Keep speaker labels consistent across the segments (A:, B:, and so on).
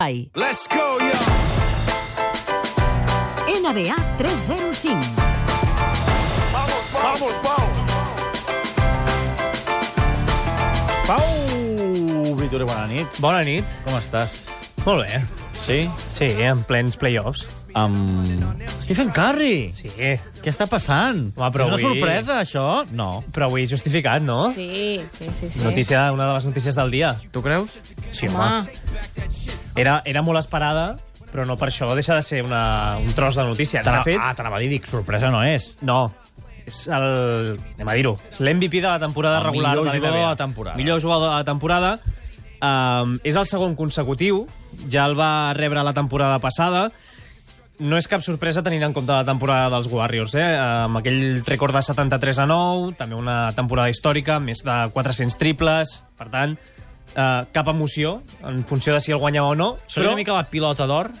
A: Espai.
B: Let's go, yo!
A: NBA 305.
B: Vamos, vamos, vamos!
C: Pau Vitori, bona nit.
D: Bona nit.
C: Com estàs?
D: Molt bé.
C: Sí?
D: Sí, en plens playoffs.
C: Amb... Stephen Curry!
D: Sí.
C: Què està passant?
D: Home, però
C: És una
D: avui-
C: sorpresa, això? No.
D: Però avui justificat, no?
E: Sí, sí, sí. sí.
D: Notícia, una de les notícies del dia.
C: Tu creus?
D: Sí,
E: Home,
D: Era, era molt esperada, però no per això deixa de ser una, un tros de notícia.
C: Te
D: De
C: la...
D: fet,
C: Ah, te la va dir, dic, sorpresa no és.
D: no. És el... Anem a dir-ho. És l'MVP de la temporada
C: El
D: regular.
C: millor
D: de la
C: jugador
D: NBA.
C: de la temporada.
D: Millor jugador de la temporada. Um, és el segon consecutiu. Ja el va rebre la temporada passada. no és cap sorpresa tenint en compte la temporada dels Warriors, eh? amb aquell rècord de 73 a 9, també una temporada històrica, més de 400 triples, per tant, eh, cap emoció en funció de si el guanyava o no,
C: Seria
D: però...
C: una mica la pilota d'or?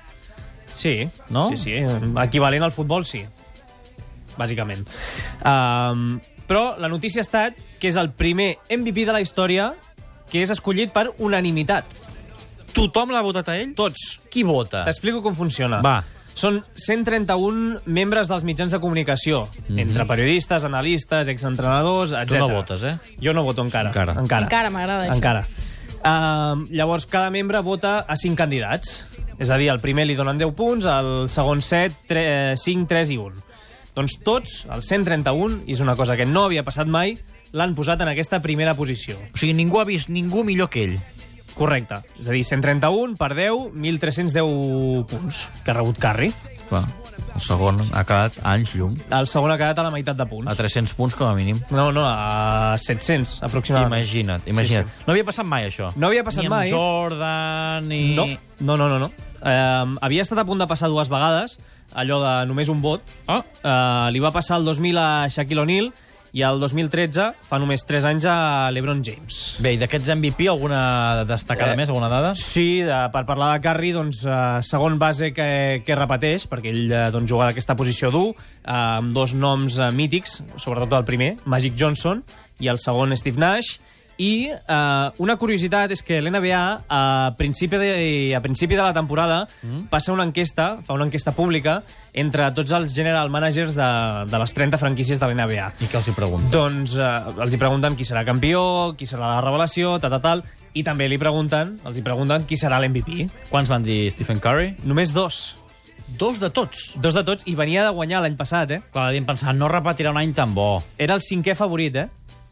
D: Sí,
C: No?
D: sí, sí, equivalent al futbol, sí, bàsicament. Um, però la notícia ha estat que és el primer MVP de la història que és escollit per unanimitat.
C: Tothom l'ha votat a ell?
D: Tots.
C: Qui vota?
D: T'explico com funciona.
C: Ah. Va.
D: Són 131 membres dels mitjans de comunicació, mm -hmm. entre periodistes, analistes, exentrenadors, etc.
C: Mhm. Tu no votes, eh?
D: Jo no voto encara.
C: Encara.
D: Encara,
E: Encara, m'agrada això.
D: Encara. Uh, llavors, cada membre vota a 5 candidats. És a dir, al primer li donen 10 punts, al segon 7, 3, 5, 3 i 1. Doncs tots, els 131, i és una cosa que no havia passat mai, l'han posat en aquesta primera posició.
C: O sigui, ningú ha vist ningú millor que ell.
D: Correcte. És a dir, 131 per 10, 1.310 punts que ha rebut Carri.
C: Clar, el segon ha quedat anys llum.
D: El segon ha quedat a la meitat de punts.
C: A 300 punts com a mínim.
D: No, no, a 700, aproximadament.
C: Imagina't, imagina't. Sí, sí. No havia passat mai, això.
D: No havia passat
C: ni
D: mai.
C: Ni amb Jordan, ni...
D: No, no, no, no. no. Um, havia estat a punt de passar dues vegades, allò de només un vot.
C: Ah.
D: Uh, li va passar el 2000 a Shaquille O'Neal i el 2013, fa només 3 anys, a l'Ebron James.
C: Bé, i d'aquests MVP, alguna destacada
D: Eh,
C: eh. més, alguna dada?
D: Sí, de, per parlar de Curry, doncs, eh, segon base que, que repeteix, perquè ell eh, doncs, juga d'aquesta posició dur, eh, amb dos noms eh, mítics, sobretot el primer, Magic Johnson, i el segon, Steve Nash. I eh, una curiositat és que l'NBA, a, principi de, a principi de la temporada, mm. passa una enquesta, fa una enquesta pública, entre tots els general managers de, de les 30 franquícies de l'NBA.
C: I què els hi pregunto?
D: Doncs eh, els hi pregunten qui serà campió, qui serà la revelació, tal, tal, tal, i també li pregunten, els hi pregunten qui serà l'MVP.
C: Quants van dir Stephen Curry?
D: Només dos.
C: Dos de tots.
D: Dos de tots, i venia de guanyar l'any passat, eh?
C: Clar, devien pensar, no repetirà un any tan bo.
D: Era el cinquè favorit, eh?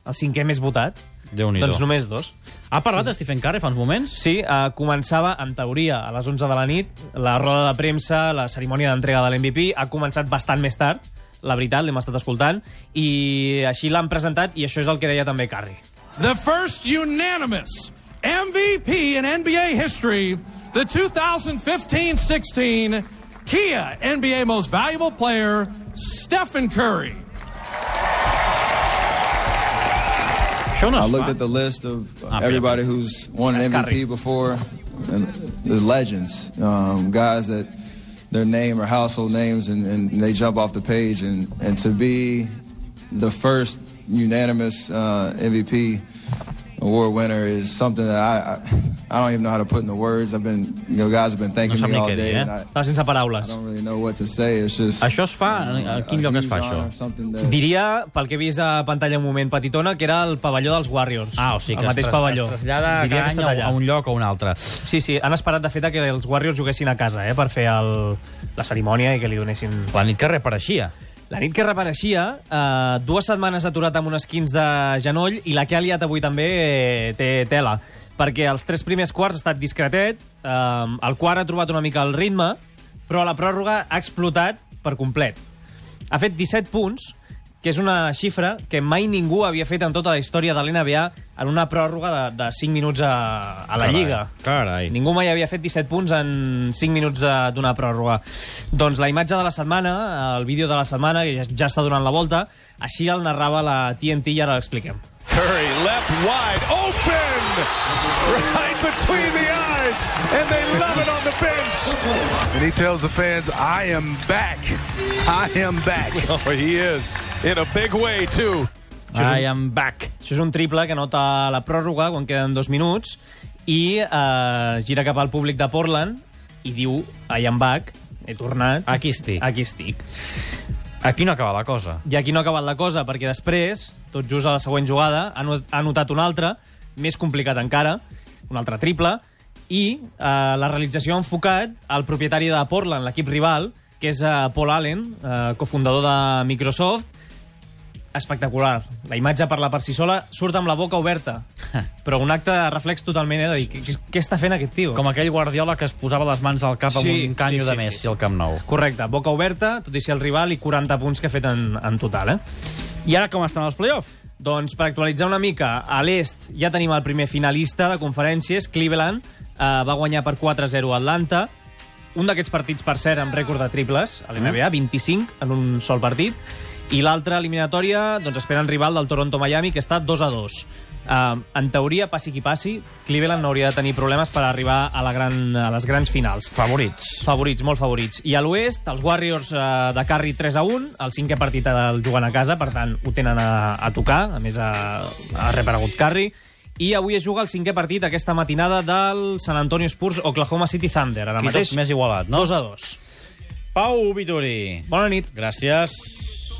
D: El cinquè més votat.
C: Déu-n'hi-do.
D: Doncs només dos.
C: Ha parlat sí. de Stephen Curry fa uns moments?
D: Sí, eh, començava, en teoria, a les 11 de la nit, la roda de premsa, la cerimònia d'entrega de l'MVP, ha començat bastant més tard, la veritat, l'hem estat escoltant, i així l'han presentat, i això és el que deia també Carri.
B: The first unanimous MVP in NBA history, the 2015-16 Kia NBA Most Valuable Player, Stephen Curry.
C: Això no
F: I
C: es
F: looked
C: fa.
F: at the list of
C: Ah,
F: everybody who's won an
D: That's
F: MVP
D: Curry.
F: before, and the legends, um, guys that their name are household names, and, and they jump off the page. And, and to be the first unanimous uh, MVP award winner is something that I, I I don't even know how to put into words. I've been you know guys have been thanking
C: No
F: me
C: saben
F: all
C: qué
F: day,
C: decir,
F: and
C: ¿eh?
F: I,
D: Estava sense
F: I
D: paraules.
F: don't really know what to say. It's just
C: Això es fa? A quin lloc es fa,
F: huge honor,
C: això?
F: something that-
D: Diria, pel que he vist a pantalla un moment petitona, que era el pavelló dels Warriors.
C: Ah, o sigui que
D: el mateix
C: es, tras-
D: pavelló.
C: es trasllada
D: Diria
C: cada
D: que
C: any
D: està
C: a,
D: allà.
C: a un lloc o a un altre.
D: Sí, sí, han esperat, de fet, a que els Warriors juguessin a casa, eh, per fer el, la cerimònia i que li donessin...
C: La nit que reapareixia.
D: La nit que reapareixia, eh, dues setmanes aturat amb unes 15 de genoll i la que ha liat avui també eh, té tela, perquè els tres primers quarts ha estat discretet, eh, el quart ha trobat una mica el ritme, però a la pròrroga ha explotat per complet. Ha fet 17 punts, que és una xifra que mai ningú havia fet en tota la història de l'NBA en una pròrroga de, de 5 minuts a, a la
C: Carai,
D: Lliga.
C: carai.
D: Ningú mai havia fet 17 punts en 5 minuts de- d'una pròrroga. Doncs la imatge de la setmana, el vídeo de la setmana, que ja, ja està donant la volta, així el narrava la TNT i ara l'expliquem.
B: Curry left wide open, right between the eyes, and they love it on the bench.
G: And he tells the fans, I am back. I am back.
B: Oh, he is in a big way, too.
C: I am back.
D: Això és un triple que nota la pròrroga quan queden dos minuts i eh, gira cap al públic de Portland i diu a Ian Bach, he tornat,
C: Aquí estic.
D: aquí estic.
C: Aquí no acaba la cosa.
D: I aquí no ha acabat la cosa, perquè després, tot just a la següent jugada, ha not- ha notat un altre, més complicat encara, un altre triple, i eh, la realització ha enfocat al propietari de Portland, l'equip rival, que és eh, Paul Allen, eh, cofundador de Microsoft. Espectacular. La imatge parla per si sola, surt amb la boca oberta. Però un acte de reflex totalment, eh, de dir, "Què- què, què està fent aquest tio?
C: Com aquell Guardiola que es posava les mans al cap amb
D: Sí,
C: un canyo
D: sí, sí,
C: de Messi
D: sí, sí.
C: al Camp Nou.
D: Correcte, boca oberta, tot i ser el rival, i 40 punts que ha fet en, en total, eh?
C: I ara com estan els play-offs?
D: Doncs per actualitzar una mica, a l'est ja tenim el primer finalista de conferències, Cleveland, eh, va guanyar per 4-0 a Atlanta, un d'aquests partits, per cert, amb rècord de triples a l'NBA, 25 en un sol partit, i l'altra eliminatòria, doncs esperen rival del Toronto-Miami, que està 2 a 2. Uh, en teoria, passi qui passi, Cleveland no hauria de tenir problemes per arribar a, la gran, a les grans finals.
C: Favorits.
D: Favorits, molt favorits. I a l'oest, els Warriors eh, de Curry 3 a 1, el cinquè partit el juguen a casa, per tant, ho tenen a, a tocar, a més ha, ha reparegut Curry. I avui es juga el cinquè partit aquesta matinada del San Antonio Spurs Oklahoma City Thunder, ara
C: Aquí
D: mateix
C: tot més igualat, no?
D: 2 a 2.
C: Pau Vitori.
D: Bona nit.
C: Gràcies.